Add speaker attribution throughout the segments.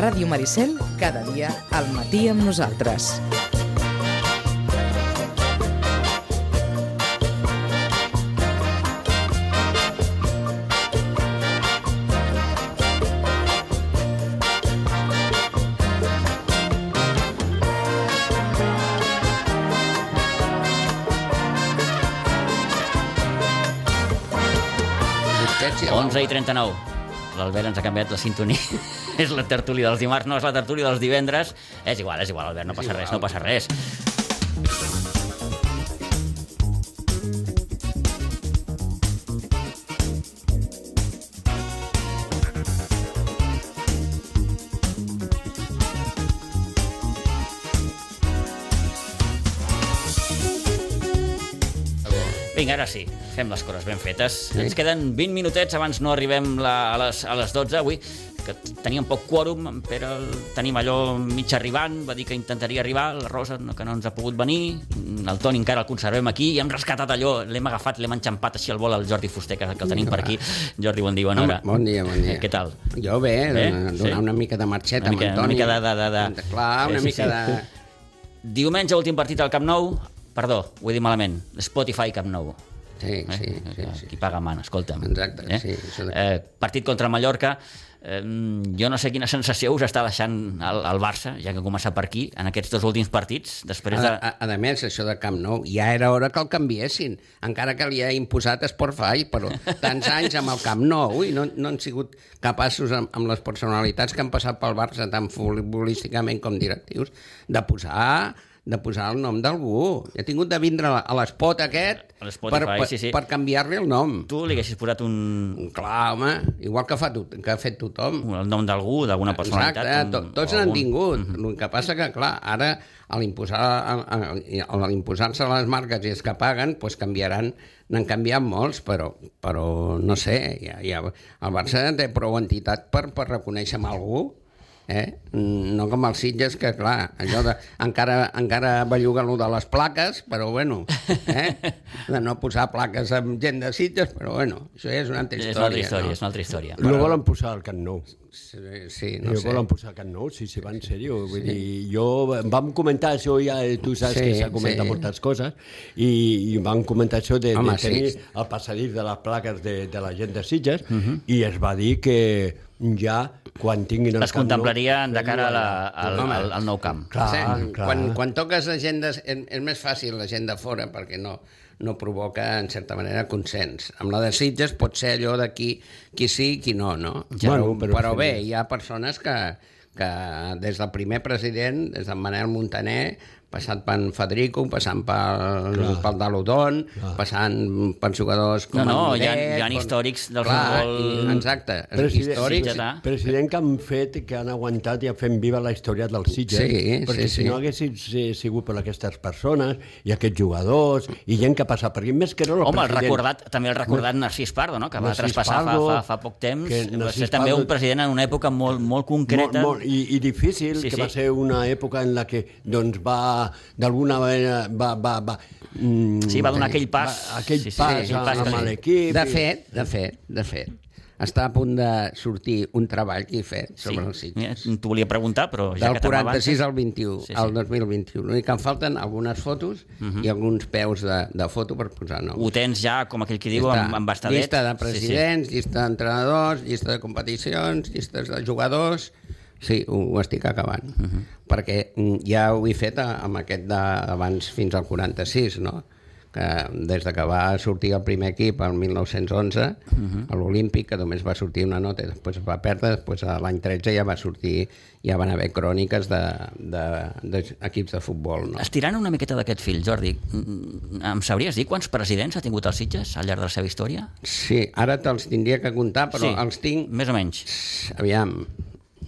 Speaker 1: Ràdio Maricel, cada dia al matí amb nosaltres.
Speaker 2: Hortènsia,
Speaker 3: 11 i 39. L'Albert ens ha canviat la sintonia. és la tertúlia dels dimarts, no és la tertúlia dels divendres. És igual, és igual, Albert, no passa res, no passa res. Vinga, ara sí, fem les coses ben fetes. Sí. Ens queden 20 minutets abans no arribem la, a, les, a les 12 avui, que teníem poc quòrum, en Pere el tenim allò mig arribant, va dir que intentaria arribar, la Rosa no, que no ens ha pogut venir, el Toni encara el conservem aquí, i hem rescatat allò, l'hem agafat, l'hem enxampat així al vol al Jordi Fuster, que és el que el tenim per aquí. Jordi, bon dia, bona hora.
Speaker 2: Bon dia, bon dia.
Speaker 3: Què tal?
Speaker 2: Jo bé,
Speaker 3: Bé?
Speaker 2: bé? donar
Speaker 3: Eh? Sí.
Speaker 2: sí. una mica de marxeta
Speaker 3: Una mica-
Speaker 2: amb Antoni.
Speaker 3: una mica de- de- de- de-
Speaker 2: Clar, una
Speaker 3: Sí, sí,
Speaker 2: mica
Speaker 3: sí.
Speaker 2: de...
Speaker 3: Diumenge, últim partit al Camp Nou, perdó, ho he dit malament, Spotify Camp Nou.
Speaker 2: Sí,
Speaker 3: Eh?
Speaker 2: sí, sí. sí.
Speaker 3: Qui paga mana, escolta'm.
Speaker 2: Exacte, sí, això de-
Speaker 3: Eh, partit contra el Mallorca, eh, jo no sé quina sensació us està deixant el, el Barça, ja que comença per aquí, en aquests dos últims partits, després de...
Speaker 2: A, a, a més, això de Camp Nou, ja era hora que el canviessin, encara que li ha imposat Sportfy, però tants anys amb el Camp Nou i no, no han sigut capaços amb, amb les personalitats que han passat pel Barça tant futbolísticament com directius de posar de posar el nom d'algú. He tingut de vindre a la- a l'espot aquest
Speaker 3: A l'Spotify,
Speaker 2: per, per,
Speaker 3: sí, sí.
Speaker 2: per canviar-li el nom.
Speaker 3: Tu li haguessis posat un,
Speaker 2: Clar, home, igual que, fa tot, que ha fet tothom.
Speaker 3: un, el nom d'algú, d'alguna personalitat...
Speaker 2: Exacte, eh, to,
Speaker 3: un-
Speaker 2: tots
Speaker 3: o
Speaker 2: n'han
Speaker 3: algun- Mhm.
Speaker 2: tingut. El que passa que, clar, ara a l'imposar- a- a- a l'imposar-se les marques i els que paguen, doncs canviaran, n'han canviat molts, però, però no sé, ja, ja, el Barça té prou entitat per, per reconèixer amb algú, eh? Mm, no com els Sitges, que clar, allò de, encara, encara belluga allò de les plaques, però bueno, eh? de no posar plaques amb gent de Sitges, però bueno, això ja és una altra
Speaker 3: És
Speaker 2: història.
Speaker 3: una altra història,
Speaker 2: no?
Speaker 3: és una altra història.
Speaker 4: No volen posar al Camp Nou.
Speaker 2: Sí, sí,
Speaker 4: No
Speaker 2: no sé.
Speaker 4: volen posar al Camp Nou, si se va en sèrio. Vull dir, jo, vam comentar això, ja, eh, tu saps
Speaker 2: Sí,
Speaker 4: que s'ha comentat
Speaker 2: sí.
Speaker 4: moltes coses, i, i vam comentar això de,
Speaker 2: Home,
Speaker 4: de tenir
Speaker 2: sí.
Speaker 4: el passadís de les plaques de, de la gent de Sitges,
Speaker 2: Mhm.
Speaker 4: i es va dir que ja, quan tinguin el
Speaker 3: Les
Speaker 4: Camp Nou,
Speaker 3: contemplarien de cara a la, al,
Speaker 2: Home.
Speaker 3: al, al nou camp.
Speaker 4: Clar,
Speaker 2: sí,
Speaker 4: clar.
Speaker 2: Quan, quan toques la gent, de, és, és més fàcil la gent de fora perquè no, no provoca, en certa manera, consens. Amb la de Sitges pot ser allò de qui, qui sí i qui no, no?
Speaker 4: Ja.
Speaker 2: però,
Speaker 4: Bueno, però-
Speaker 2: però, però bé, hi ha persones que, que des del primer president, des d'en Manel Montaner, passant per en Federico, passant pel, pel Dalodon, passant per jugadors com
Speaker 3: No, no,
Speaker 2: en
Speaker 3: hi ha-
Speaker 2: Mudet,
Speaker 3: hi ha
Speaker 2: com-
Speaker 3: històrics del
Speaker 2: clar,
Speaker 3: futbol-
Speaker 2: i- Exacte,
Speaker 4: President,
Speaker 2: històrics.
Speaker 3: sí, ja està.
Speaker 4: president que han fet, que han aguantat i han fet viva la història del Sitges,
Speaker 2: Sí,
Speaker 4: perquè
Speaker 2: sí,
Speaker 4: si
Speaker 2: sí.
Speaker 4: no haguessin eh, sigut per aquestes persones i aquests jugadors i gent que ha passat per aquí, més que no el
Speaker 3: Home, el
Speaker 4: president.
Speaker 3: recordat, també el recordat Narcís Pardo, no? que va
Speaker 4: Narcís
Speaker 3: traspassar
Speaker 4: Pardo,
Speaker 3: fa, fa, fa poc temps. Va
Speaker 4: que
Speaker 3: ser
Speaker 4: Narcís
Speaker 3: també
Speaker 4: Pardo-
Speaker 3: un president en una època molt, molt concreta.
Speaker 4: Molt, molt, i, i difícil,
Speaker 3: Sí,
Speaker 4: sí, que
Speaker 3: sí.
Speaker 4: va ser una època en la que doncs, va, d'alguna manera, va, va, va, mm,
Speaker 3: Sí, va donar aquell pas.
Speaker 4: va- aquell
Speaker 3: Sí, sí,
Speaker 4: pas,
Speaker 3: aquell
Speaker 4: amb-
Speaker 3: pas que
Speaker 4: amb
Speaker 3: li-
Speaker 4: l'equip.
Speaker 2: De
Speaker 4: i-
Speaker 2: fet, de fet, de fet, està a punt de sortir un treball que he fet sobre el
Speaker 3: sí.
Speaker 2: sitge.
Speaker 3: Mira, T'ho volia preguntar, però ja
Speaker 2: Del
Speaker 3: que te'n
Speaker 2: 46
Speaker 3: avances-
Speaker 2: al 21,
Speaker 3: Sí, Mhm. sí.
Speaker 2: al 2021. L'únic que em falten algunes fotos i alguns peus de, de foto per posar nom.
Speaker 3: Ho tens ja, com aquell que diu,
Speaker 2: Està
Speaker 3: amb, amb bastadet.
Speaker 2: Llista de presidents, llista d'entrenadors, llista de competicions, llistes de jugadors... Sí, ho, ho estic acabant.
Speaker 3: Mhm.
Speaker 2: Perquè mm, ja ho he fet a- amb aquest d'abans fins al 46, no? que des de que va sortir el primer equip el 1911
Speaker 3: Mhm.
Speaker 2: a l'Olímpic, que només va sortir una nota i després es va perdre, després a l'any 13 ja va sortir, ja van haver cròniques d'equips de, de, de, equips de futbol. No?
Speaker 3: Sí. Estirant una miqueta d'aquest fil, Jordi, mm, em sabries dir quants presidents ha tingut el Sitges al llarg de la seva història?
Speaker 2: Sí, ara te'ls tindria que comptar, però
Speaker 3: Sí.
Speaker 2: els tinc
Speaker 3: Més o menys.
Speaker 2: aviam...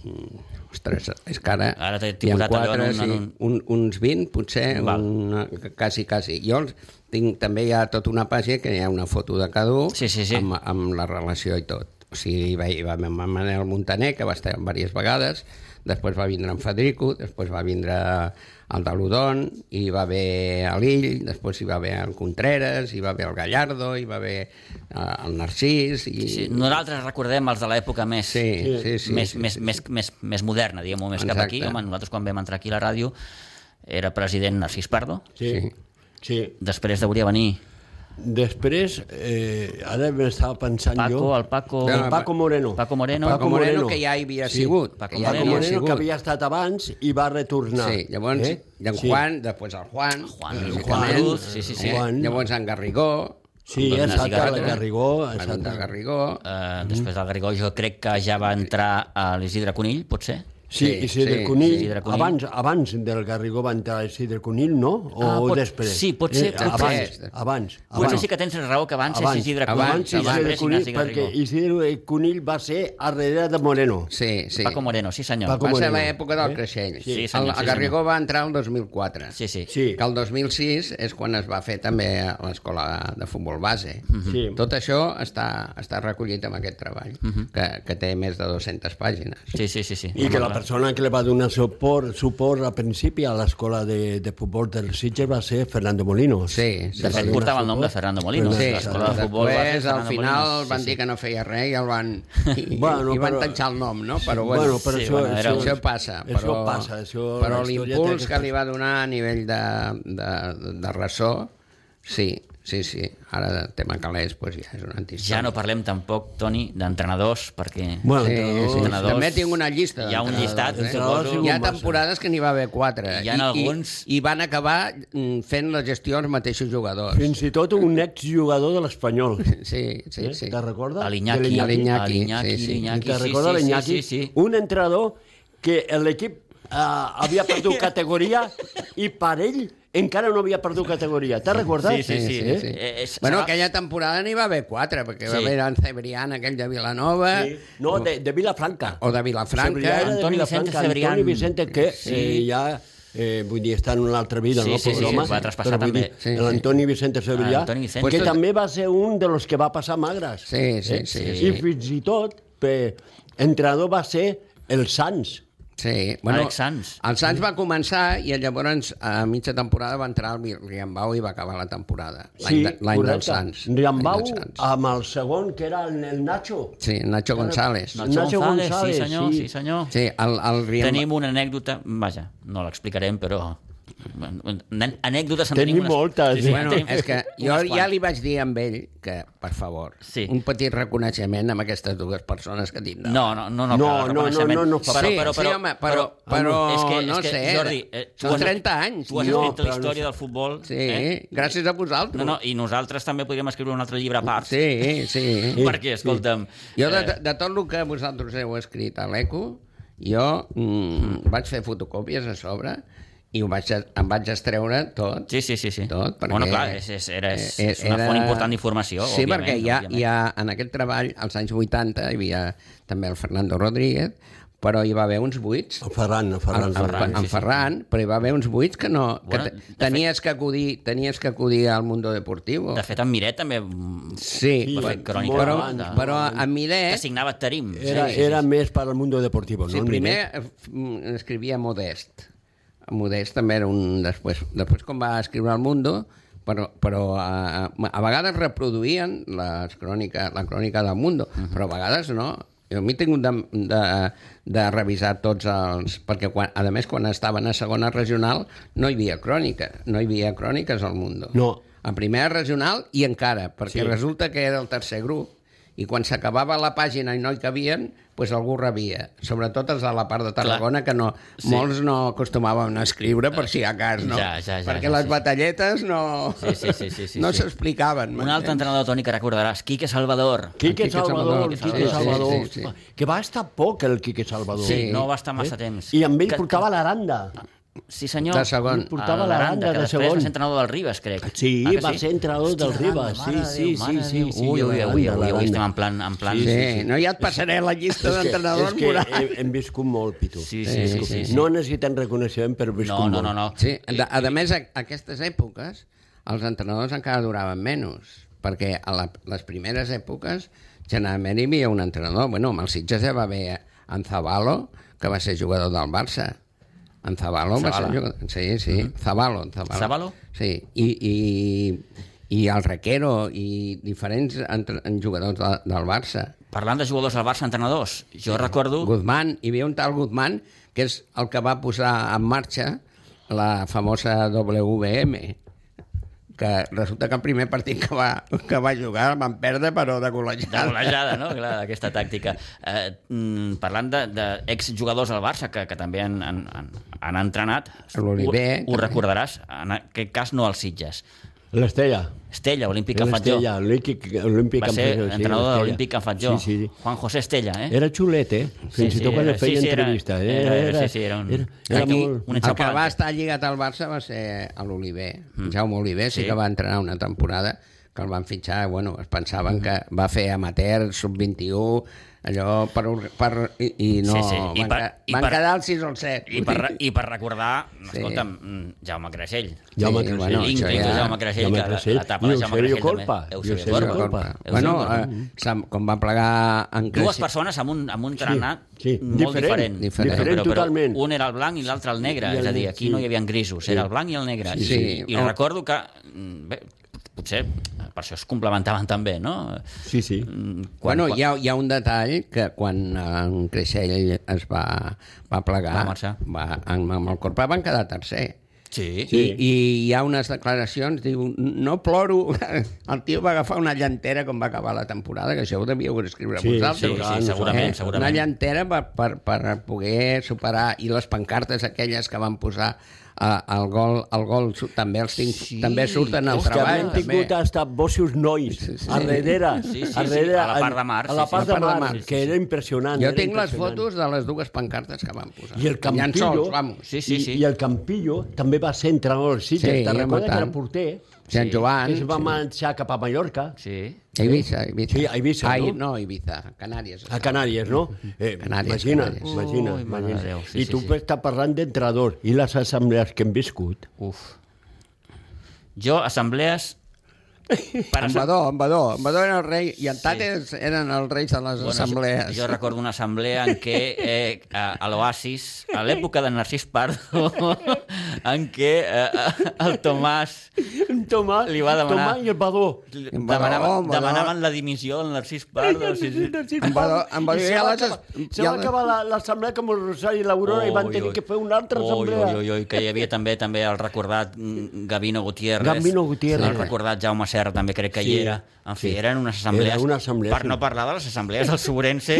Speaker 2: Mm, Ostres, és que ara...
Speaker 3: Ara t'he- t'he
Speaker 2: hi ha
Speaker 3: posat allò en
Speaker 2: quatre,
Speaker 3: un- en
Speaker 2: sí,
Speaker 3: un-
Speaker 2: un, uns 20, potser,
Speaker 3: Val.
Speaker 2: una, quasi, quasi. Jo els tinc, també hi ha tota una pàgina que hi ha una foto de cada un
Speaker 3: Sí, sí, sí.
Speaker 2: Amb, amb la relació i tot. O sigui, hi va, hi va el Manel Montaner, que va estar diverses vegades, després va vindre en Federico, després va vindre el de l'Udon, hi va haver l'Ill, després hi va haver el Contreras, hi va haver el Gallardo, hi va haver eh, el Narcís... I...
Speaker 3: Sí, nosaltres recordem els de l'època més,
Speaker 2: Sí, sí, sí,
Speaker 3: més,
Speaker 2: sí,
Speaker 3: més, Més, més, més moderna, diguem-ho, més cap aquí.
Speaker 2: Exacte.
Speaker 3: Home, nosaltres quan vam entrar aquí a la ràdio era president Narcís Pardo,
Speaker 4: Sí, sí. sí.
Speaker 3: després hauria venir
Speaker 4: Després, eh, ara estava pensant
Speaker 3: Paco,
Speaker 4: jo...
Speaker 3: el Paco-
Speaker 4: El Paco Moreno.
Speaker 3: Paco Moreno.
Speaker 2: Paco Moreno, que ja hi havia sigut.
Speaker 3: Paco
Speaker 2: que ja hi
Speaker 4: Paco
Speaker 2: havia
Speaker 4: Moreno,
Speaker 2: sigut.
Speaker 4: que havia estat abans i va retornar.
Speaker 2: Sí, llavors eh? hi ha en
Speaker 4: Sí.
Speaker 2: Juan, després el Juan.
Speaker 3: Juan,
Speaker 2: eh,
Speaker 3: el
Speaker 2: lògicament,
Speaker 3: Juan, sí, sí, sí.
Speaker 4: Juan.
Speaker 2: Llavors en Garrigó.
Speaker 4: Sí,
Speaker 3: Doncs
Speaker 4: exacte,
Speaker 3: Garrigó.
Speaker 4: el Garrigó,
Speaker 2: En
Speaker 4: exacte.
Speaker 2: de Garrigó.
Speaker 3: Uh, després del Garrigó jo crec que ja
Speaker 2: Eh,
Speaker 3: va entrar a l'Isidre Conill, potser?
Speaker 2: Sí,
Speaker 4: Sí, i Isidre
Speaker 2: sí,
Speaker 4: Conill,
Speaker 3: Isidre Conill.
Speaker 4: Abans, abans del Garrigó va entrar Isidre Conill, no? O
Speaker 3: Ah, pot-
Speaker 4: després? Eh,
Speaker 3: sí, pot ser, pot
Speaker 4: abans,
Speaker 2: ser.
Speaker 4: Abans, abans.
Speaker 3: Potser sí que tens raó que abans, és Isidre Conill.
Speaker 2: Ah, abans,
Speaker 3: i
Speaker 2: abans.
Speaker 4: Isidre
Speaker 3: després
Speaker 4: Conill,
Speaker 3: Ignasi
Speaker 4: perquè
Speaker 3: Garrigó.
Speaker 4: Isidre Conill va ser a darrere de Moreno.
Speaker 2: Sí, sí.
Speaker 3: Paco Moreno, sí senyor.
Speaker 4: Paco-
Speaker 2: Va ser
Speaker 4: Moreno.
Speaker 2: l'època del
Speaker 4: Eh?
Speaker 2: Creixell.
Speaker 3: Sí, sí,
Speaker 2: el,
Speaker 3: senyor, sí,
Speaker 2: el Garrigó va entrar el 2004.
Speaker 3: Sí, sí.
Speaker 4: Sí,
Speaker 2: Que el 2006 és quan es va fer també l'escola de futbol base.
Speaker 3: Mhm.
Speaker 4: sí.
Speaker 2: Tot això està, està recollit en aquest treball,
Speaker 3: Mhm.
Speaker 2: que, que té més de 200 pàgines.
Speaker 3: Sí, sí, sí. sí.
Speaker 4: I que la persona que le va donar suport, suport al principi a l'escola de, de futbol del Sitges va ser Fernando Molinos.
Speaker 2: Sí, sí,
Speaker 3: De fet,
Speaker 2: sí.
Speaker 3: portava el nom de Fernando Molinos.
Speaker 2: Sí,
Speaker 3: l'escola de futbol va ser
Speaker 2: després, al
Speaker 3: Fernando
Speaker 2: final,
Speaker 3: Molinos.
Speaker 2: van
Speaker 3: Sí,
Speaker 2: dir
Speaker 3: sí.
Speaker 2: que no feia res i el van, i,
Speaker 4: Bueno,
Speaker 2: i van
Speaker 4: però-
Speaker 2: tanxar el nom, no? Però, bueno,
Speaker 4: Bueno, però
Speaker 3: sí,
Speaker 4: això,
Speaker 3: bueno, era
Speaker 4: això,
Speaker 3: un-
Speaker 2: això passa.
Speaker 4: Això
Speaker 2: però,
Speaker 4: passa. Això,
Speaker 2: però
Speaker 4: la història té
Speaker 2: l'impuls
Speaker 4: aquestes-
Speaker 2: que li va donar a nivell de, de, de ressò, sí, sí, sí. Ara el tema calés pues, ja és un antihistòric.
Speaker 3: Ja no parlem tampoc, Toni, d'entrenadors, perquè...
Speaker 4: Bueno,
Speaker 2: Sí, sí.
Speaker 3: entrenadors.
Speaker 2: També tinc una llista. eh?
Speaker 3: Hi ha un llistat,
Speaker 4: Entrenadors
Speaker 3: suposo.
Speaker 4: i
Speaker 2: Hi ha
Speaker 4: Massa.
Speaker 2: temporades que n'hi va haver quatre.
Speaker 3: Hi ha alguns-
Speaker 2: I, I van acabar mm, fent la gestió els mateixos jugadors.
Speaker 4: Fins i tot un exjugador de l'Espanyol.
Speaker 2: Sí, sí, sí.
Speaker 4: Te'n recordes?
Speaker 3: A l'Iñaki.
Speaker 4: De
Speaker 2: A l'Iñaki,
Speaker 3: l'Iñaki,
Speaker 2: sí, sí.
Speaker 3: l'Iñaki,
Speaker 4: Te'n
Speaker 3: sí,
Speaker 4: recordes
Speaker 3: sí, sí, Sí,
Speaker 4: l'Iñaki?
Speaker 3: sí,
Speaker 4: Un entrenador que l'equip eh, havia perdut categoria i per ell encara no havia perdut categoria. Te'n recordes?
Speaker 3: Sí, sí, sí.
Speaker 2: sí, sí.
Speaker 3: Eh, és-
Speaker 2: bueno,
Speaker 3: serà-
Speaker 2: aquella temporada n'hi va haver quatre, perquè sí. va
Speaker 3: Sí.
Speaker 2: haver en Cebrián, aquell de Vilanova, sí.
Speaker 4: No, de, de Vilafranca.
Speaker 2: Ah, o de Vilafranca.
Speaker 4: Cebrià era de
Speaker 3: Antoni Vicente
Speaker 4: Vilafranca,
Speaker 3: Cebrián.
Speaker 4: Antoni Vicente, que
Speaker 3: Sí.
Speaker 4: sí. eh, ja... Eh, vull dir, està en una altra vida,
Speaker 3: Sí,
Speaker 4: no?
Speaker 3: sí,
Speaker 4: pobre
Speaker 3: sí,
Speaker 4: home,
Speaker 3: sí, va traspassar
Speaker 4: però vull
Speaker 3: també.
Speaker 4: dir,
Speaker 2: Sí, sí.
Speaker 4: L'Antoni Vicente Cebrià,
Speaker 3: Antoni Vicente.
Speaker 2: Pues
Speaker 4: que
Speaker 2: tot-
Speaker 4: també va ser un de los que va passar magres. Eh?
Speaker 2: Sí, sí, sí,
Speaker 4: I
Speaker 2: sí.
Speaker 4: fins i tot, per, entrenador va ser el Sants.
Speaker 2: Sí.
Speaker 3: Àlex Sanz.
Speaker 2: El Sanz va començar i llavors a mitja temporada va entrar el Riambau i va acabar la temporada. L'any de- l'any del
Speaker 4: correcte.
Speaker 2: Sanz.
Speaker 4: Riambau
Speaker 2: L'any del Sanz.
Speaker 4: amb el segon, que era el, el Nacho.
Speaker 2: Sí, Nacho González.
Speaker 3: Nacho,
Speaker 4: Nacho
Speaker 3: González,
Speaker 4: González,
Speaker 3: sí senyor,
Speaker 4: sí.
Speaker 3: sí, senyor.
Speaker 2: Sí, el, el Riambau...
Speaker 3: Tenim una anècdota, vaja, no l'explicarem, però... Nen- Anècdotes en
Speaker 4: Tenim
Speaker 3: unes-
Speaker 4: moltes.
Speaker 2: Bueno,
Speaker 3: tenim
Speaker 2: és que jo
Speaker 3: unes
Speaker 2: ja
Speaker 3: quantes.
Speaker 2: li vaig dir amb ell que, per favor,
Speaker 3: Sí.
Speaker 2: un petit reconeixement amb aquestes dues persones que tinc. davant.
Speaker 3: No, no, no, no,
Speaker 4: No,
Speaker 3: cal
Speaker 4: no, no,
Speaker 3: reconeixement.
Speaker 4: no, no fa-
Speaker 2: Sí, sí, home, però- però no sé,
Speaker 3: eh,
Speaker 2: eh,
Speaker 3: tu
Speaker 2: són
Speaker 3: has-
Speaker 2: 30 anys.
Speaker 3: Tu has
Speaker 4: No,
Speaker 3: escrit la
Speaker 4: però no
Speaker 3: història del futbol.
Speaker 2: Sí,
Speaker 3: eh?
Speaker 2: gràcies a vosaltres.
Speaker 3: No, no, i nosaltres també podríem escriure un altre llibre a part.
Speaker 2: Sí, sí.
Speaker 3: Perquè, escolta'm...
Speaker 2: Jo, de,
Speaker 3: eh,
Speaker 2: de tot el que vosaltres heu escrit a l'ECO, jo mm, vaig fer fotocòpies a sobre i ho vaig, em vaig extreure tot.
Speaker 3: Sí, sí, sí. sí.
Speaker 2: Tot, perquè, eh,
Speaker 3: Bueno, clar, és, és, era, és, és una font important d'informació,
Speaker 2: Sí,
Speaker 3: òbviament.
Speaker 2: perquè hi ha,
Speaker 3: òbviament.
Speaker 2: hi ha, en aquest treball, als anys 80, hi havia també el Fernando Rodríguez, però hi va haver uns buits
Speaker 4: El Ferran, el Ferran.
Speaker 2: en, Ferran, en,
Speaker 3: sí, sí.
Speaker 2: Ferran, però hi va haver uns buits que no... Que
Speaker 3: Bueno,
Speaker 2: te-
Speaker 3: de fet-
Speaker 2: tenies, que acudir, tenies que acudir al Mundo Deportivo.
Speaker 3: De fet, en Miret també mm,
Speaker 2: Sí,
Speaker 4: Sí,
Speaker 2: però,
Speaker 4: fet
Speaker 3: crònica
Speaker 2: però,
Speaker 3: de-
Speaker 2: però a
Speaker 3: que
Speaker 2: Milet...
Speaker 3: signava Tarim.
Speaker 4: Era,
Speaker 3: sí, sí,
Speaker 4: era
Speaker 3: sí.
Speaker 4: més per al mundo deportivo,
Speaker 2: Sí,
Speaker 4: no?
Speaker 2: primer eh, f- mm, escrivia Modest. Modest també era un... Després, després com va escriure El Mundo, però, però a, a vegades reproduïen les crònica, la crònica del Mundo,
Speaker 4: Mhm.
Speaker 2: però a vegades no. Jo m'he tingut de, de, de revisar tots els... Perquè, quan, a més, quan estaven a segona regional no hi havia crònica, no hi havia cròniques al Mundo.
Speaker 4: No.
Speaker 2: A primera regional i encara, perquè
Speaker 4: Sí.
Speaker 2: sí. resulta que era el tercer grup i quan s'acabava la pàgina i no hi cabien, doncs algú rebia. Sobretot els de la part de Tarragona, que no, sí. molts no acostumaven a escriure, per si a cas, no?
Speaker 3: Ja, ja, ja,
Speaker 2: perquè
Speaker 3: ja,
Speaker 2: les
Speaker 3: sí.
Speaker 2: batalletes no
Speaker 3: Sí, sí, sí, sí, sí,
Speaker 2: no
Speaker 3: sí.
Speaker 2: s'explicaven.
Speaker 3: Un
Speaker 4: eh?
Speaker 3: altre entrenador, Toni, que recordaràs, Quique Salvador.
Speaker 4: Quique
Speaker 2: Quique
Speaker 4: Salvador,
Speaker 2: Salvador,
Speaker 3: sí,
Speaker 4: Quique Salvador.
Speaker 2: sí, sí, sí.
Speaker 4: Que va estar poc el Quique Salvador.
Speaker 3: Sí, no va estar massa temps.
Speaker 4: Eh? I amb ell
Speaker 3: Que-
Speaker 4: portava l'Aranda.
Speaker 3: Sí, senyor.
Speaker 2: De segon.
Speaker 4: Ell portava
Speaker 3: A
Speaker 4: l'Aranda
Speaker 3: que
Speaker 4: de
Speaker 3: després
Speaker 4: segon.
Speaker 3: va ser entrenador del Ribes, crec.
Speaker 4: Sí,
Speaker 3: Ah, que
Speaker 4: va ser entrenador del
Speaker 3: l'Aranda,
Speaker 4: Ribes, sí,
Speaker 3: mare de
Speaker 4: sí,
Speaker 3: Déu,
Speaker 4: sí,
Speaker 3: mare de
Speaker 4: sí,
Speaker 3: Déu.
Speaker 4: sí,
Speaker 3: Ui, ui,
Speaker 4: l'Aranda,
Speaker 3: ui, avui, avui
Speaker 4: l'Aranda.
Speaker 3: estem en plan... En plan...
Speaker 2: Sí, sí, no, ja et passaré la llista
Speaker 4: És que-
Speaker 2: d'entrenadors
Speaker 4: és que
Speaker 2: morals.
Speaker 4: hem, hem viscut molt, Pitu.
Speaker 3: Sí, sí, sí, sí, sí.
Speaker 4: No necessitem reconeixement per
Speaker 3: No,
Speaker 4: viscut
Speaker 3: no, no, no.
Speaker 2: Sí, de, a més, a, a aquestes èpoques, els entrenadors encara duraven menys, perquè a la, les primeres èpoques generalment hi havia un entrenador. Bueno, amb el Sitges ja va haver en Zabalo, que va ser jugador del Barça. En Zabalo va ser
Speaker 3: Zabala.
Speaker 2: jugador... Sí, sí, uh -huh. Zabalo, en Zabalo.
Speaker 3: Zabalo?
Speaker 2: Sí, i, i, i el Requero i diferents entre, en jugadors de, del Barça.
Speaker 3: Parlant de jugadors del Barça, entrenadors, jo recordo...
Speaker 2: Guzmán, hi havia un tal Guzmán, que és el que va posar en marxa la famosa WM, que resulta que el primer partit que va, que va jugar van perdre, però de
Speaker 3: de
Speaker 2: golejada.
Speaker 3: golejada, no? Clar, aquesta tàctica. Eh, mm, parlant d'exjugadors de, de del Barça que, que també han, han, han, han entrenat,
Speaker 2: L'Oliver,
Speaker 3: ho, ho
Speaker 2: també.
Speaker 3: recordaràs, en aquest cas no als Sitges.
Speaker 4: L'Estella.
Speaker 3: Estella, olímpic que faig jo.
Speaker 4: L'Estella, olímpic, olímpic
Speaker 3: Va ser
Speaker 4: campió, sí,
Speaker 3: entrenador de
Speaker 4: l'Estella.
Speaker 3: l'Olímpic que faig jo.
Speaker 4: Sí, sí, sí.
Speaker 3: Juan José Estella, eh?
Speaker 4: Era xulet, eh? Fins
Speaker 3: Sí,
Speaker 4: i
Speaker 3: sí,
Speaker 4: tot quan
Speaker 3: era-
Speaker 4: et feia
Speaker 3: sí, sí, era-
Speaker 4: entrevista.
Speaker 3: era- sí, sí, era un-
Speaker 4: Era, era
Speaker 2: Aquí,
Speaker 4: molt...
Speaker 3: un
Speaker 2: el que
Speaker 3: enxampalat.
Speaker 2: va estar lligat al Barça va ser a l'Oliver. Mm. Jaume Oliver sí,
Speaker 3: Sí.
Speaker 2: sí que va entrenar una temporada que el van fitxar, bueno, es
Speaker 3: Mm.
Speaker 2: pensaven que va fer amateur, sub-21, allò per... or- per i, i no,
Speaker 3: Sí, sí. I
Speaker 2: van,
Speaker 3: per-
Speaker 2: ca-
Speaker 3: i
Speaker 2: van
Speaker 3: per-
Speaker 2: quedar el 6 o el 7.
Speaker 3: I per, re- I per recordar, sí.
Speaker 2: Sí.
Speaker 3: escolta'm, mm, Jaume Creixell.
Speaker 4: Jaume
Speaker 2: Sí,
Speaker 4: Creixell.
Speaker 2: bueno, això
Speaker 3: L'Inca
Speaker 2: ja-
Speaker 3: Jaume Creixell,
Speaker 4: Jaume
Speaker 3: que la-
Speaker 4: Creixell.
Speaker 3: l'etapa
Speaker 4: I
Speaker 3: de Jaume
Speaker 4: Eusebio
Speaker 3: Creixell també.
Speaker 4: Colpa. I
Speaker 3: Eusebio
Speaker 4: Eusebio
Speaker 2: Corpa.
Speaker 3: Corpa.
Speaker 4: Colpa.
Speaker 3: Eusebio
Speaker 2: Bueno,
Speaker 3: Corpa.
Speaker 2: eh, se'm- com va plegar en
Speaker 3: Dues
Speaker 2: Creixell,
Speaker 3: persones amb un, amb un trenat
Speaker 4: sí.
Speaker 3: sí, sí. molt
Speaker 4: Diferent,
Speaker 3: diferent.
Speaker 2: diferent.
Speaker 4: Diferent totalment.
Speaker 3: un era el blanc i l'altre el negre,
Speaker 4: I el
Speaker 3: és a dir,
Speaker 4: ne-
Speaker 3: aquí
Speaker 4: sí.
Speaker 3: no hi havia grisos, era el blanc i el negre.
Speaker 2: Sí, sí.
Speaker 3: I, i
Speaker 2: Oh.
Speaker 3: recordo que, mm, bé, potser per això es complementaven també, no?
Speaker 4: Sí, sí.
Speaker 3: Mm, Quan,
Speaker 2: Bueno, hi ha, hi ha un detall que quan eh, en Creixell es va, va plegar,
Speaker 3: Va marxar.
Speaker 2: va, amb, amb el Corpa van quedar tercer.
Speaker 3: Sí.
Speaker 2: Sí. I, I hi ha unes declaracions, diu, no ploro, el tio va agafar una llantera com va acabar la temporada, que això ho devíeu escriure
Speaker 4: Sí,
Speaker 3: Sí,
Speaker 2: vosaltres.
Speaker 3: sí, segurament, segurament.
Speaker 2: Eh, Una llantera per, per, per poder superar, i les pancartes aquelles que van posar eh, el gol, el gol su- també, els tinc, sí. també surten al
Speaker 4: És que
Speaker 2: treball.
Speaker 4: han tingut
Speaker 2: també.
Speaker 4: hasta bossos nois sí, sí. a darrere,
Speaker 3: Sí, sí, sí,
Speaker 4: a, darrere,
Speaker 3: a la part de mar,
Speaker 4: a la
Speaker 3: sí, sí.
Speaker 4: part,
Speaker 2: A la
Speaker 4: de,
Speaker 2: part de
Speaker 4: mar,
Speaker 2: mar.
Speaker 4: que era impressionant.
Speaker 2: Jo
Speaker 4: era
Speaker 2: tinc les
Speaker 4: impressionant.
Speaker 2: fotos de les dues pancartes que van posar.
Speaker 4: I el Campillo-
Speaker 2: Llençols, vamos.
Speaker 3: Sí, sí,
Speaker 4: I,
Speaker 3: sí.
Speaker 4: I el Campillo també va ser entrenador del Sitges.
Speaker 2: Sí,
Speaker 4: Sí, Te'n
Speaker 2: home,
Speaker 4: recordes que era
Speaker 2: tant.
Speaker 4: porter?
Speaker 2: Sant Joan.
Speaker 4: Que es va marxar cap a Mallorca,
Speaker 3: sí.
Speaker 2: A Ibiza, Ibiza.
Speaker 4: Sí, a Ibiza,
Speaker 2: Ai,
Speaker 4: no?
Speaker 2: no, Ibiza, Canàries.
Speaker 4: a Canàries, no? Eh,
Speaker 2: Canàries,
Speaker 4: imagina,
Speaker 2: Canàries.
Speaker 4: imagina.
Speaker 3: Ui, mare
Speaker 4: imagina.
Speaker 3: de Déu, sí,
Speaker 4: I
Speaker 3: sí,
Speaker 4: tu
Speaker 3: sí.
Speaker 4: estàs parlant d'entrenador i les assemblees que hem viscut.
Speaker 3: Uf. Jo, assemblees... Per
Speaker 2: En Badó, en Badó. En Badó era el rei i en Tates eren els reis de les assemblees.
Speaker 3: Jo, jo recordo una assemblea en què eh, a, a l'Oasis, a l'època de Narcís Pardo, en què eh, el Tomàs
Speaker 4: En Tomà,
Speaker 3: Li va demanar-
Speaker 4: Tomà i el Badó.
Speaker 2: Em va
Speaker 3: demanava,
Speaker 2: demanar, em va
Speaker 3: demanaven la dimissió del Narcís Pardo. Sí, sí.
Speaker 2: Em va do- em va
Speaker 4: I
Speaker 2: dir,
Speaker 4: se
Speaker 2: ja
Speaker 4: va
Speaker 2: les-
Speaker 4: acabar-
Speaker 2: ja
Speaker 4: Se va
Speaker 2: les-
Speaker 4: acabar la- l'assemblea com el Rosari i l'Aurora i van
Speaker 3: Oi,
Speaker 4: tenir
Speaker 3: oi.
Speaker 4: que fer una altra
Speaker 3: Oi,
Speaker 4: assemblea.
Speaker 3: Oi, oi, oi, que hi havia també també el recordat mm, Gavino Gutiérrez.
Speaker 4: Gabino Gutiérrez.
Speaker 3: El recordat Jaume Serra també crec que
Speaker 4: Sí,
Speaker 3: hi era. En fi,
Speaker 4: sí.
Speaker 3: eren unes assemblees...
Speaker 4: Era una assemblea,
Speaker 3: Per
Speaker 4: sí.
Speaker 3: no parlar de les assemblees del Sobrense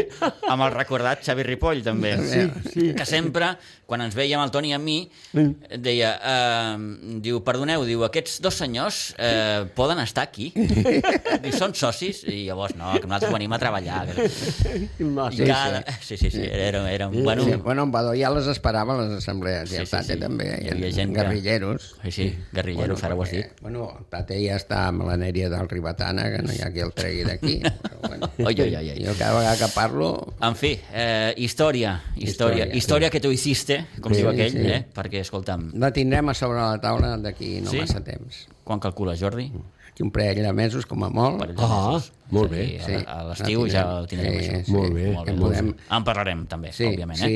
Speaker 3: amb el recordat Xavi Ripoll, també. Sí, sí. Que sempre, quan ens veiem el Toni i a mi, deia... Eh, diu, perdoneu, diu, aquests dos senyors eh, poden estar aquí? Diu, són socis? I llavors, no, que nosaltres venim a treballar. I
Speaker 4: Massa.
Speaker 3: cada... sí, sí, sí, era, era un... Bueno,
Speaker 2: Sí, bueno, en Badó ja les esperava les assemblees, sí, i el
Speaker 3: Sí, sí,
Speaker 2: Tate
Speaker 3: sí.
Speaker 2: també,
Speaker 3: Hi
Speaker 2: i
Speaker 3: havia
Speaker 2: en
Speaker 3: gent que-
Speaker 2: Guerrilleros.
Speaker 3: Sí, sí, guerrilleros, bueno, ara ho has dit.
Speaker 2: perquè, Bueno, el Tate ja està amb la Nèria del Ribatana, que no hi ha qui el tregui d'aquí. però bueno,
Speaker 3: Oi, oi, oi, oi.
Speaker 2: jo cada vegada que parlo...
Speaker 3: En fi, eh, història, història,
Speaker 2: Història,
Speaker 3: història que tu hiciste, com
Speaker 2: Sí,
Speaker 3: diu aquell,
Speaker 2: sí.
Speaker 3: eh? perquè, escolta'm,
Speaker 2: La tindrem a sobre la taula d'aquí no
Speaker 3: Sí?
Speaker 2: sí? massa temps.
Speaker 3: quan calcules, Jordi?
Speaker 2: Aquí un parell de mesos, com a molt.
Speaker 3: Per ells
Speaker 4: Ah,
Speaker 3: mesos.
Speaker 4: molt
Speaker 3: És a dir,
Speaker 4: bé.
Speaker 3: a-
Speaker 2: Sí,
Speaker 3: A l'estiu
Speaker 2: la
Speaker 3: ja
Speaker 2: tindrem.
Speaker 3: ho tindrem,
Speaker 2: Sí,
Speaker 3: això.
Speaker 2: sí.
Speaker 4: Molt bé,
Speaker 3: Molt bé.
Speaker 4: en
Speaker 3: Doncs
Speaker 2: podem-
Speaker 3: En parlarem, també,
Speaker 2: Sí,
Speaker 3: òbviament.
Speaker 2: si,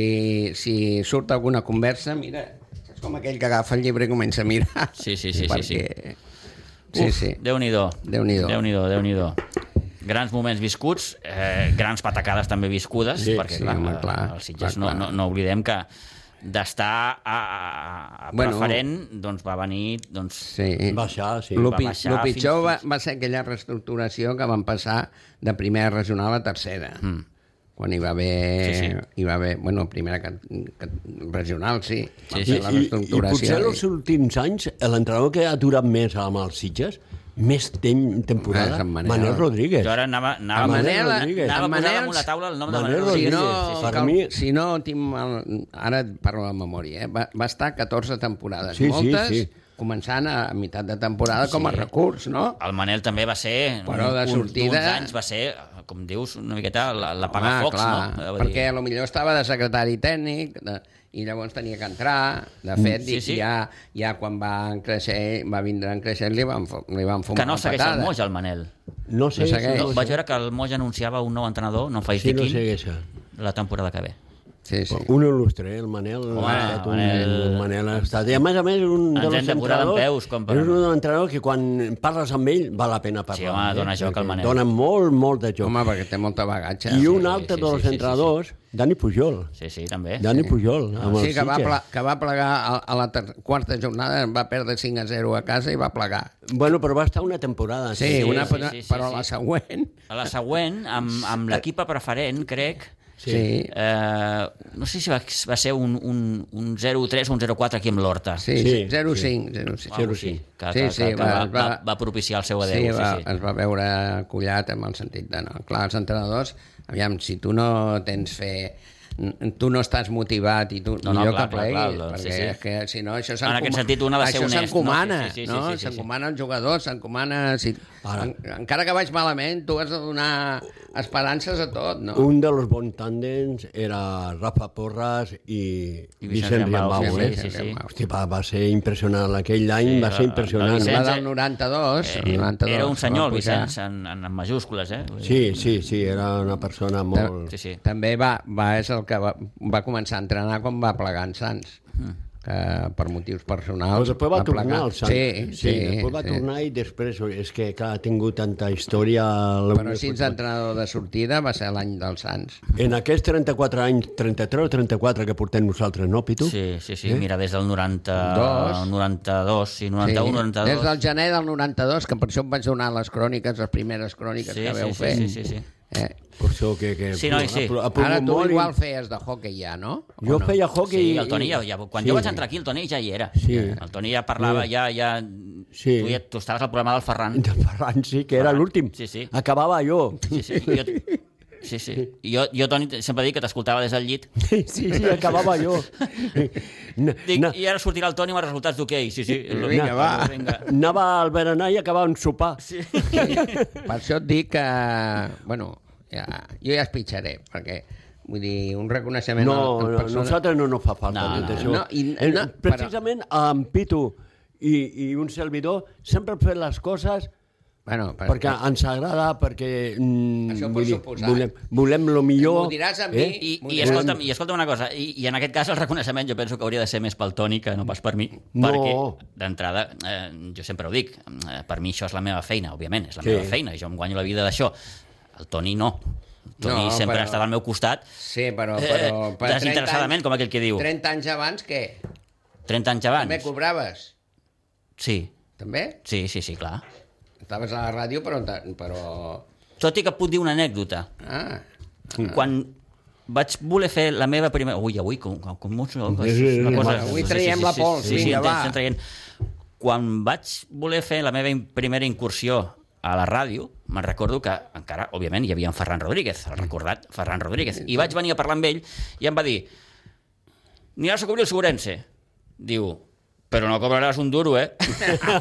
Speaker 3: Eh?
Speaker 2: si surt alguna conversa, mira, és com aquell que agafa el llibre i comença a mirar.
Speaker 3: Sí, sí, sí, sí,
Speaker 2: perquè... sí. Sí, sí.
Speaker 3: Déu-n'hi-do.
Speaker 2: Déu-n'hi-do.
Speaker 3: Déu-n'hi-do, déu nhi déu Grans moments viscuts, eh, grans patacades també viscudes,
Speaker 4: Sí,
Speaker 3: perquè
Speaker 2: sí, home,
Speaker 3: eh,
Speaker 2: clar,
Speaker 3: els Sitges
Speaker 2: clar,
Speaker 3: no,
Speaker 2: clar.
Speaker 3: no, no oblidem que d'estar a, a, a
Speaker 2: Bueno.
Speaker 3: preferent, doncs va venir doncs,
Speaker 2: Sí.
Speaker 4: Va baixar, sí.
Speaker 2: Lo,
Speaker 3: Va
Speaker 2: pi
Speaker 3: baixar
Speaker 2: lo pitjor
Speaker 3: fins-
Speaker 2: va, va ser aquella reestructuració que van passar de primera regional a tercera. Mm. Quan hi va haver...
Speaker 3: Sí, sí.
Speaker 2: Hi va haver bueno, primera cat- cat- regional, sí. Van
Speaker 3: Sí,
Speaker 2: fer
Speaker 3: sí.
Speaker 2: La
Speaker 4: I, i
Speaker 2: reestructuració.
Speaker 4: potser els últims anys l'entrenador que ha durat més amb els Sitges, més tem temporada,
Speaker 3: Ah,
Speaker 2: És en Manel.
Speaker 4: Manel Rodríguez.
Speaker 3: Jo ara anava, anava,
Speaker 2: En
Speaker 3: anava,
Speaker 2: Manel-
Speaker 3: anava
Speaker 2: en
Speaker 3: Manel, posant
Speaker 2: Manel-
Speaker 3: damunt la taula el nom
Speaker 4: Manel
Speaker 3: de Manel
Speaker 2: Si
Speaker 4: Rodríguez.
Speaker 2: no,
Speaker 4: Sí, sí, sí.
Speaker 2: cal,
Speaker 4: Per mi-
Speaker 2: si no tinc el, ara et parlo de memòria, eh? va, va estar 14 temporades,
Speaker 4: Sí, sí,
Speaker 2: moltes
Speaker 4: sí.
Speaker 2: començant a mitat de temporada com a recurs, no?
Speaker 3: El Manel també va ser,
Speaker 2: Però de
Speaker 3: un-
Speaker 2: sortida-
Speaker 3: d'uns anys va ser, com dius, una miqueta la, la
Speaker 2: Home,
Speaker 3: Pagafox,
Speaker 2: clar,
Speaker 3: no? Eh, Vull dir,
Speaker 2: perquè a lo millor estava de secretari tècnic de, i llavors tenia que entrar. De
Speaker 4: Mm.
Speaker 2: fet,
Speaker 3: Sí,
Speaker 2: sí,
Speaker 3: sí.
Speaker 2: sí. Ja, ja quan va en créixer, va vindre en créixer, li van, fo- li van fumar
Speaker 3: que no
Speaker 2: una
Speaker 3: segueix el
Speaker 2: patada.
Speaker 3: Moja, el Manel.
Speaker 4: No sé,
Speaker 2: No segueix.
Speaker 3: No,
Speaker 4: no
Speaker 3: vaig veure que el Moja anunciava un nou entrenador, no em facis
Speaker 4: Sí,
Speaker 3: dir
Speaker 4: no
Speaker 3: quin,
Speaker 4: segueix.
Speaker 3: la temporada que ve.
Speaker 2: Sí, sí.
Speaker 4: Un il·lustre, eh? el Manel.
Speaker 3: Home,
Speaker 4: ha estat un,
Speaker 3: Manel. eh,
Speaker 4: el Manel ha estat... I a més a més, un
Speaker 3: Ens
Speaker 4: dels
Speaker 3: hem de posar
Speaker 4: entrenadors...
Speaker 3: dempeus, com per-
Speaker 4: és un entrenador que quan parles amb ell val la pena parlar.
Speaker 3: Sí, home, dona joc al
Speaker 4: Perquè
Speaker 3: Manel.
Speaker 4: Dona molt, molt de joc.
Speaker 2: Home, perquè té molta bagatge.
Speaker 4: I un
Speaker 3: sí,
Speaker 4: altre
Speaker 3: sí,
Speaker 4: dels
Speaker 3: sí, sí,
Speaker 4: entrenadors, Dani Pujol.
Speaker 3: Sí, sí, també.
Speaker 4: Dani Pujol, amb
Speaker 2: Ah, Sí,
Speaker 4: el
Speaker 2: que va,
Speaker 4: Sitges.
Speaker 2: pla, que va plegar a, a la ter quarta jornada, va perdre 5 a 0 a casa i va plegar.
Speaker 4: Bueno, però va estar una temporada.
Speaker 2: Sí, sí una,
Speaker 3: sí,
Speaker 2: sí,
Speaker 3: sí, sí,
Speaker 2: però
Speaker 3: sí.
Speaker 2: la següent...
Speaker 3: A la següent, amb, amb l'equip preferent, crec,
Speaker 2: Sí. sí.
Speaker 3: eh, no sé si va, va ser un, un, un 0-3 o un 0-4 aquí amb l'Horta.
Speaker 2: Sí,
Speaker 4: Sí,
Speaker 2: sí, 0-5. 0-5.
Speaker 3: Algo així, Que, que,
Speaker 2: sí,
Speaker 3: que, que va,
Speaker 2: es
Speaker 3: va, va propiciar el seu adeu.
Speaker 2: sí, va,
Speaker 3: sí, sí.
Speaker 2: es va veure collat amb el sentit de no. Clar, els entrenadors, aviam, si tu no tens fe n- tu no estàs motivat i tu
Speaker 3: No,
Speaker 2: no,
Speaker 3: no,
Speaker 2: millor
Speaker 3: clar,
Speaker 2: que
Speaker 3: clar,
Speaker 2: pleguis,
Speaker 3: clar,
Speaker 2: perquè
Speaker 3: doncs, sí, sí.
Speaker 2: és que si no això
Speaker 3: En aquest
Speaker 2: s'encoma-
Speaker 3: sentit, un ha de ser
Speaker 2: això
Speaker 3: honest, no?
Speaker 2: s'encomana,
Speaker 3: Sí, sí, sí,
Speaker 2: no?
Speaker 3: sí, sí, sí.
Speaker 2: S'encomana als jugadors, s'encomana... Si... En, encara que vagis malament, tu has de donar esperances a tot, no?
Speaker 3: Uh,
Speaker 4: Un dels bons tàndems era Rafa Porras i,
Speaker 3: I Vicent
Speaker 4: Vicent
Speaker 3: Riambau,
Speaker 4: Riambau.
Speaker 3: sí,
Speaker 4: eh?
Speaker 3: sí, sí, sí.
Speaker 4: Hosti, va, va ser impressionant. Aquell any
Speaker 3: Sí,
Speaker 4: va ser
Speaker 3: el- el
Speaker 4: impressionant.
Speaker 3: Vicent-
Speaker 2: Va del 92,
Speaker 3: Eh,
Speaker 2: el 92
Speaker 3: era un senyor, el
Speaker 2: va pujar.
Speaker 3: Vicenç, en, en, en majúscules, eh? Vull dir,
Speaker 4: Sí, sí, sí, era una persona molt...
Speaker 3: Sí, sí.
Speaker 2: També va, va, és el que va, va començar a entrenar quan va plegar en Sants,
Speaker 3: Hmm.
Speaker 2: que per motius personals...
Speaker 4: Però després va tornar
Speaker 2: plegar.
Speaker 4: al Sant.
Speaker 2: Sí, sí,
Speaker 4: sí, després va
Speaker 2: sí.
Speaker 4: tornar i després... És que, clar, ha tingut tanta història... a la
Speaker 2: Però
Speaker 4: Unió
Speaker 2: així
Speaker 4: Futbol.
Speaker 2: d'entrenador de sortida va ser l'any dels Sants.
Speaker 4: En aquests 34 anys, 33 o 34 que portem nosaltres, no, Pitu?
Speaker 3: Sí, sí, sí, mira, des del 90,
Speaker 2: Dos.
Speaker 3: 92, sí, 91,
Speaker 2: sí.
Speaker 3: 92.
Speaker 2: Des del gener del 92, que per això em vaig donar les cròniques, les primeres cròniques
Speaker 3: Sí,
Speaker 2: que
Speaker 3: sí,
Speaker 2: veu
Speaker 3: sí,
Speaker 2: fer.
Speaker 3: sí, sí, sí.
Speaker 2: Eh?
Speaker 4: Per això que... que
Speaker 3: Sí, noi, sí.
Speaker 4: apro- apro-
Speaker 2: Ara tu
Speaker 4: molt i-
Speaker 2: igual feies de hockey ja, no? O
Speaker 4: Jo
Speaker 2: no?
Speaker 4: feia hockey...
Speaker 3: Sí,
Speaker 4: i-
Speaker 3: el Toni, ja, ja, quan sí. jo vaig entrar aquí, el Toni ja hi era.
Speaker 4: Sí.
Speaker 3: El Toni ja parlava, ja... ja...
Speaker 4: Sí.
Speaker 3: Tu, ja, tu estaves al programa del Ferran.
Speaker 4: De Ferran, sí, que era
Speaker 3: Ferran,
Speaker 4: l'últim.
Speaker 3: sí, sí.
Speaker 4: Acabava jo.
Speaker 3: Sí, sí. Jo, sí, sí. I Jo, jo, Toni, sempre dic que t'escoltava des del llit.
Speaker 4: Sí, sí, sí acabava jo. Na,
Speaker 3: Dic,
Speaker 4: na,
Speaker 3: I ara sortirà el Toni amb els resultats d'hoquei. Sí, sí.
Speaker 2: Vinga, va.
Speaker 3: Vinga.
Speaker 4: anava al berenar i acabava un sopar.
Speaker 3: Sí.
Speaker 2: Per això et dic que... Bueno, ja, jo ja es pitjaré, perquè... Vull dir, un reconeixement...
Speaker 4: No,
Speaker 2: en- en
Speaker 4: no,
Speaker 2: persona-
Speaker 4: nosaltres no nos fa falta
Speaker 3: No,
Speaker 4: no, tot
Speaker 3: no,
Speaker 4: això.
Speaker 2: no, i-
Speaker 4: Eh,
Speaker 2: no,
Speaker 4: Precisament amb Pitu i, i un servidor sempre hem fet les coses
Speaker 2: Bueno, per,
Speaker 4: perquè ens agrada, perquè mm,
Speaker 2: Això per
Speaker 4: vull dir,
Speaker 2: suposat.
Speaker 4: volem, volem lo millor. eh?
Speaker 2: M'ho diràs a mi
Speaker 3: I,
Speaker 2: Molt
Speaker 3: i,
Speaker 2: bé.
Speaker 3: escolta'm, I escolta'm una cosa, i, i en aquest cas el reconeixement jo penso que hauria de ser més pel Toni que no pas per mi,
Speaker 4: No.
Speaker 3: perquè d'entrada, eh, jo sempre ho dic, eh, per mi això és la meva feina, òbviament, és la
Speaker 4: Sí.
Speaker 3: meva feina, jo em guanyo la vida d'això. El Toni no. El Toni
Speaker 2: No,
Speaker 3: sempre
Speaker 2: però-
Speaker 3: ha estat al meu costat,
Speaker 2: Sí, però...
Speaker 3: eh,
Speaker 2: però per 30 anys-
Speaker 3: desinteressadament, com aquell que diu. 30,
Speaker 2: 30 anys abans, què?
Speaker 3: anys
Speaker 2: També
Speaker 3: abans.
Speaker 2: cobraves?
Speaker 3: Sí,
Speaker 2: També?
Speaker 3: sí, sí, sí, clar.
Speaker 2: Estaves a la ràdio, però... però...
Speaker 3: Tot i que puc dir una anècdota.
Speaker 2: Ah,
Speaker 3: Quan vaig voler fer la meva primera... Ui, avui, com, com, com molt... Una
Speaker 4: Sí, sí, sí.
Speaker 3: cosa...
Speaker 2: Avui traiem la pols,
Speaker 3: sí, sí,
Speaker 2: vinga,
Speaker 3: estem-
Speaker 2: va.
Speaker 3: estem traient. Quan vaig voler fer la meva in- primera incursió a la ràdio, me'n recordo que encara, òbviament, hi havia en Ferran Rodríguez, el recordat Ferran Rodríguez, i vaig venir a parlar amb ell i em va dir aniràs a cobrir el Segurense. Diu, però no cobraràs un duro, eh?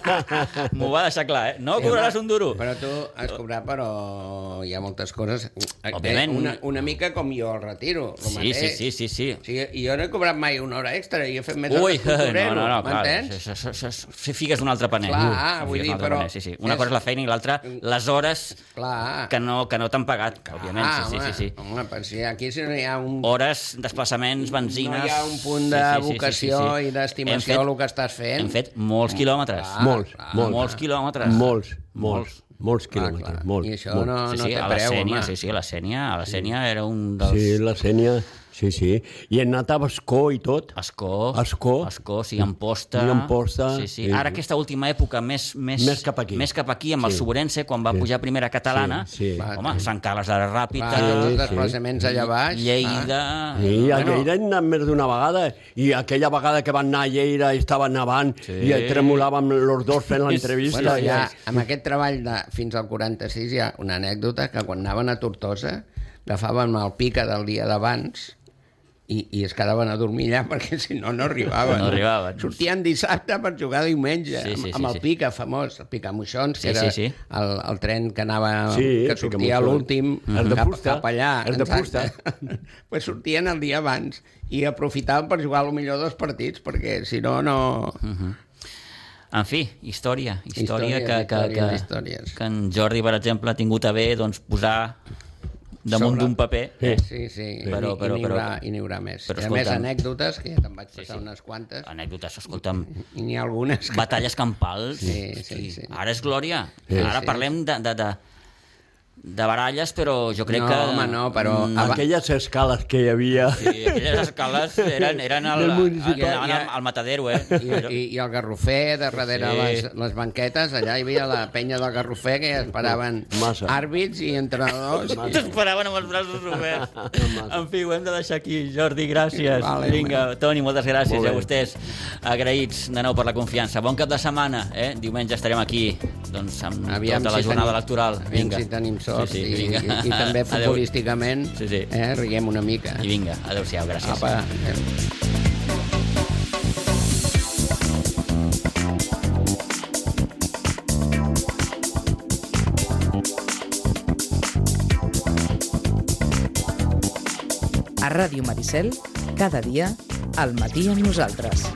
Speaker 3: M'ho va deixar clar, eh? No cobraràs un duro.
Speaker 2: però tu has cobrat, però hi ha moltes coses... eh,
Speaker 3: Òbviament.
Speaker 2: Una, una mica com jo el retiro. el
Speaker 3: Sí, sí,
Speaker 2: mateix.
Speaker 3: sí, sí, sí.
Speaker 2: O sigui, jo no he cobrat mai una hora extra, jo he fet més
Speaker 3: Ui,
Speaker 2: hores que un
Speaker 3: no,
Speaker 2: torero,
Speaker 3: no, no, clar,
Speaker 2: m'entens?
Speaker 3: això, això, això, això, si fiques un altre paner.
Speaker 2: Clar,
Speaker 3: Si
Speaker 2: vull
Speaker 3: fiques
Speaker 2: dir,
Speaker 3: un altre
Speaker 2: però
Speaker 3: paner, Sí, sí. Una
Speaker 2: és-
Speaker 3: cosa és la feina i l'altra, les hores
Speaker 2: Clar.
Speaker 3: que no, que no t'han pagat, òbviament, sí, sí, sí, sí.
Speaker 2: Ah, Home, home, però si aquí si no hi ha un
Speaker 3: Hores, desplaçaments, benzines...
Speaker 2: No hi ha un punt de
Speaker 3: Sí, sí, sí, sí, sí,
Speaker 2: vocació
Speaker 3: sí.
Speaker 2: i d'estimació
Speaker 3: Hem
Speaker 2: al
Speaker 3: fet-
Speaker 2: que estàs fent.
Speaker 3: Hem fet molts quilòmetres.
Speaker 2: Ah,
Speaker 4: molts,
Speaker 2: clar,
Speaker 4: molts,
Speaker 3: molts quilòmetres.
Speaker 4: Molts, molts, molts
Speaker 2: Clar,
Speaker 4: quilòmetres.
Speaker 2: clar.
Speaker 4: Molts,
Speaker 2: I això
Speaker 4: molts.
Speaker 2: no,
Speaker 3: sí,
Speaker 2: no
Speaker 3: sí,
Speaker 2: té
Speaker 3: a la
Speaker 2: preu,
Speaker 3: Sènia,
Speaker 2: home.
Speaker 3: sí, sí, a la Sènia, a la Sènia era un dels...
Speaker 2: doncs-
Speaker 4: Sí, la Sènia, sí, sí. I he anat a Bascó i tot.
Speaker 3: Escó,
Speaker 4: Ascó.
Speaker 3: Escó, sí, Amposta.
Speaker 4: I Amposta,
Speaker 3: Sí, sí.
Speaker 4: sí.
Speaker 3: Ara aquesta última època més, més,
Speaker 4: Més cap aquí.
Speaker 3: Més cap aquí, amb sí. el Sobrense, quan va sí. pujar a primera catalana.
Speaker 4: Sí, sí.
Speaker 3: Home, Sant Carles de la Ràpita,
Speaker 2: Clar,
Speaker 4: Sí,
Speaker 2: els
Speaker 4: sí.
Speaker 2: desplaçaments allà baix.
Speaker 3: Lleida...
Speaker 4: ah. Sí, a Lleida hem anat més d'una vegada i aquella vegada que van anar a Lleida i estava nevant sí. i tremolàvem los dos fent l'entrevista.
Speaker 2: Bueno, ja,
Speaker 4: i-
Speaker 2: amb aquest treball de fins al 46 hi ha una anècdota que quan anaven a Tortosa agafaven el pica del dia d'abans i, i es quedaven a dormir allà perquè si no, no arribaven.
Speaker 3: No arribaven.
Speaker 2: Sortien dissabte per jugar diumenge
Speaker 3: Sí, sí, sí,
Speaker 2: amb, amb
Speaker 3: sí.
Speaker 2: el pica famós, el pica Moixons,
Speaker 3: Sí,
Speaker 2: que era
Speaker 3: sí, sí.
Speaker 2: El, el tren que anava,
Speaker 4: Sí,
Speaker 2: que sortia
Speaker 4: Picamoixons.
Speaker 2: a l'últim
Speaker 4: El de
Speaker 2: cap,
Speaker 4: fusta,
Speaker 2: cap allà.
Speaker 4: el de
Speaker 2: exacte. pues sortien el dia abans i aprofitaven per jugar a lo millor dos partits perquè si no, no...
Speaker 3: Mm. En fi, història. Història,
Speaker 2: Històries,
Speaker 3: que, que,
Speaker 2: històries,
Speaker 3: que,
Speaker 2: històries.
Speaker 3: que en Jordi, per exemple, ha tingut a bé doncs, posar damunt
Speaker 2: Sobre-
Speaker 3: d'un paper.
Speaker 2: Sí,
Speaker 3: Eh?
Speaker 2: sí, sí.
Speaker 3: Però-
Speaker 2: Però, I, però,
Speaker 3: però-
Speaker 2: i n'hi haurà,
Speaker 3: però-
Speaker 2: i n'hi haurà més.
Speaker 3: però
Speaker 2: Però, I a més,
Speaker 3: escolta'm.
Speaker 2: anècdotes, que ja te'n vaig passar sí,
Speaker 3: sí.
Speaker 2: sí. unes quantes,
Speaker 3: Anècdotes, escolta'm,
Speaker 2: i n'hi ha algunes que...
Speaker 3: batalles campals.
Speaker 2: Sí, sí, sí.
Speaker 3: Ara és glòria.
Speaker 4: Sí,
Speaker 3: Ara
Speaker 2: sí.
Speaker 3: parlem de, de, de, de baralles, però jo crec
Speaker 2: no,
Speaker 3: que...
Speaker 2: home, no, però...
Speaker 4: Mm,
Speaker 2: aba-
Speaker 4: Aquelles escales que hi havia...
Speaker 3: Sí, aquelles escales eren, eren el,
Speaker 4: Del
Speaker 3: el,
Speaker 4: municipal,
Speaker 3: el,
Speaker 2: ja.
Speaker 3: el matadero, eh?
Speaker 2: I, i, I el garrofer, de darrere
Speaker 3: Sí.
Speaker 2: sí. les, les banquetes, allà hi havia la penya del garrofer que ja esperaven
Speaker 4: Massa.
Speaker 2: àrbits i entrenadors. I...
Speaker 3: T'esperaven amb els braços oberts. en fi, ho hem de deixar aquí. Jordi, gràcies.
Speaker 2: Vale,
Speaker 3: Vinga, Toni, moltes gràcies. I
Speaker 4: Molt bé.
Speaker 3: a vostès, agraïts de nou per la confiança. Bon cap de setmana. Eh? Diumenge estarem aquí doncs, amb
Speaker 2: Aviam
Speaker 3: tota la
Speaker 2: si
Speaker 3: jornada
Speaker 2: tenim-
Speaker 3: electoral.
Speaker 2: Aviam
Speaker 3: Vinga.
Speaker 2: si tenim sort sí,
Speaker 3: Sí, sí,
Speaker 2: sí, i,
Speaker 3: vinga.
Speaker 2: i, i, també
Speaker 3: Adeu.
Speaker 2: futbolísticament
Speaker 3: Sí, sí.
Speaker 2: Eh, riguem una mica.
Speaker 3: I vinga, adeu-siau, gràcies.
Speaker 2: Apa, adeu.
Speaker 1: A Ràdio Maricel, cada dia, al matí amb nosaltres.